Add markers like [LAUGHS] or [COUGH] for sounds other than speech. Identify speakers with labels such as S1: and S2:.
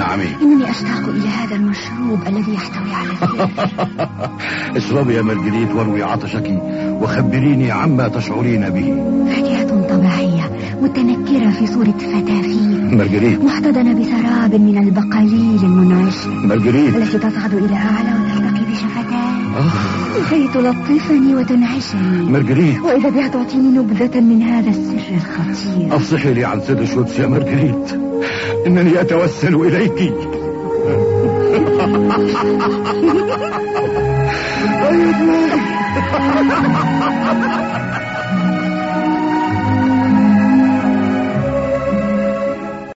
S1: عمي [LAUGHS]
S2: إنني أشتاق إلى هذا المشروب الذي يحتوي على الفكر
S1: اشربي يا مارجريت واروي عطشك وخبريني عما تشعرين به
S2: فتاة طبيعية متنكرة في صورة فتافيت
S1: مارجريت
S2: محتضنة بسراب من البقاليل المنعش
S1: مارجريت
S2: التي تصعد إلى أعلى وتلتقي بشفتاي
S1: آه،
S2: كي تلطفني وتنعشني
S1: مارجريت
S2: وإذا بها تعطيني نبذة من هذا السر الخطير
S1: افصحي لي عن سر الشوتس يا مارجريت انني اتوسل [LAUGHS] اليك طيب. أي دماغي.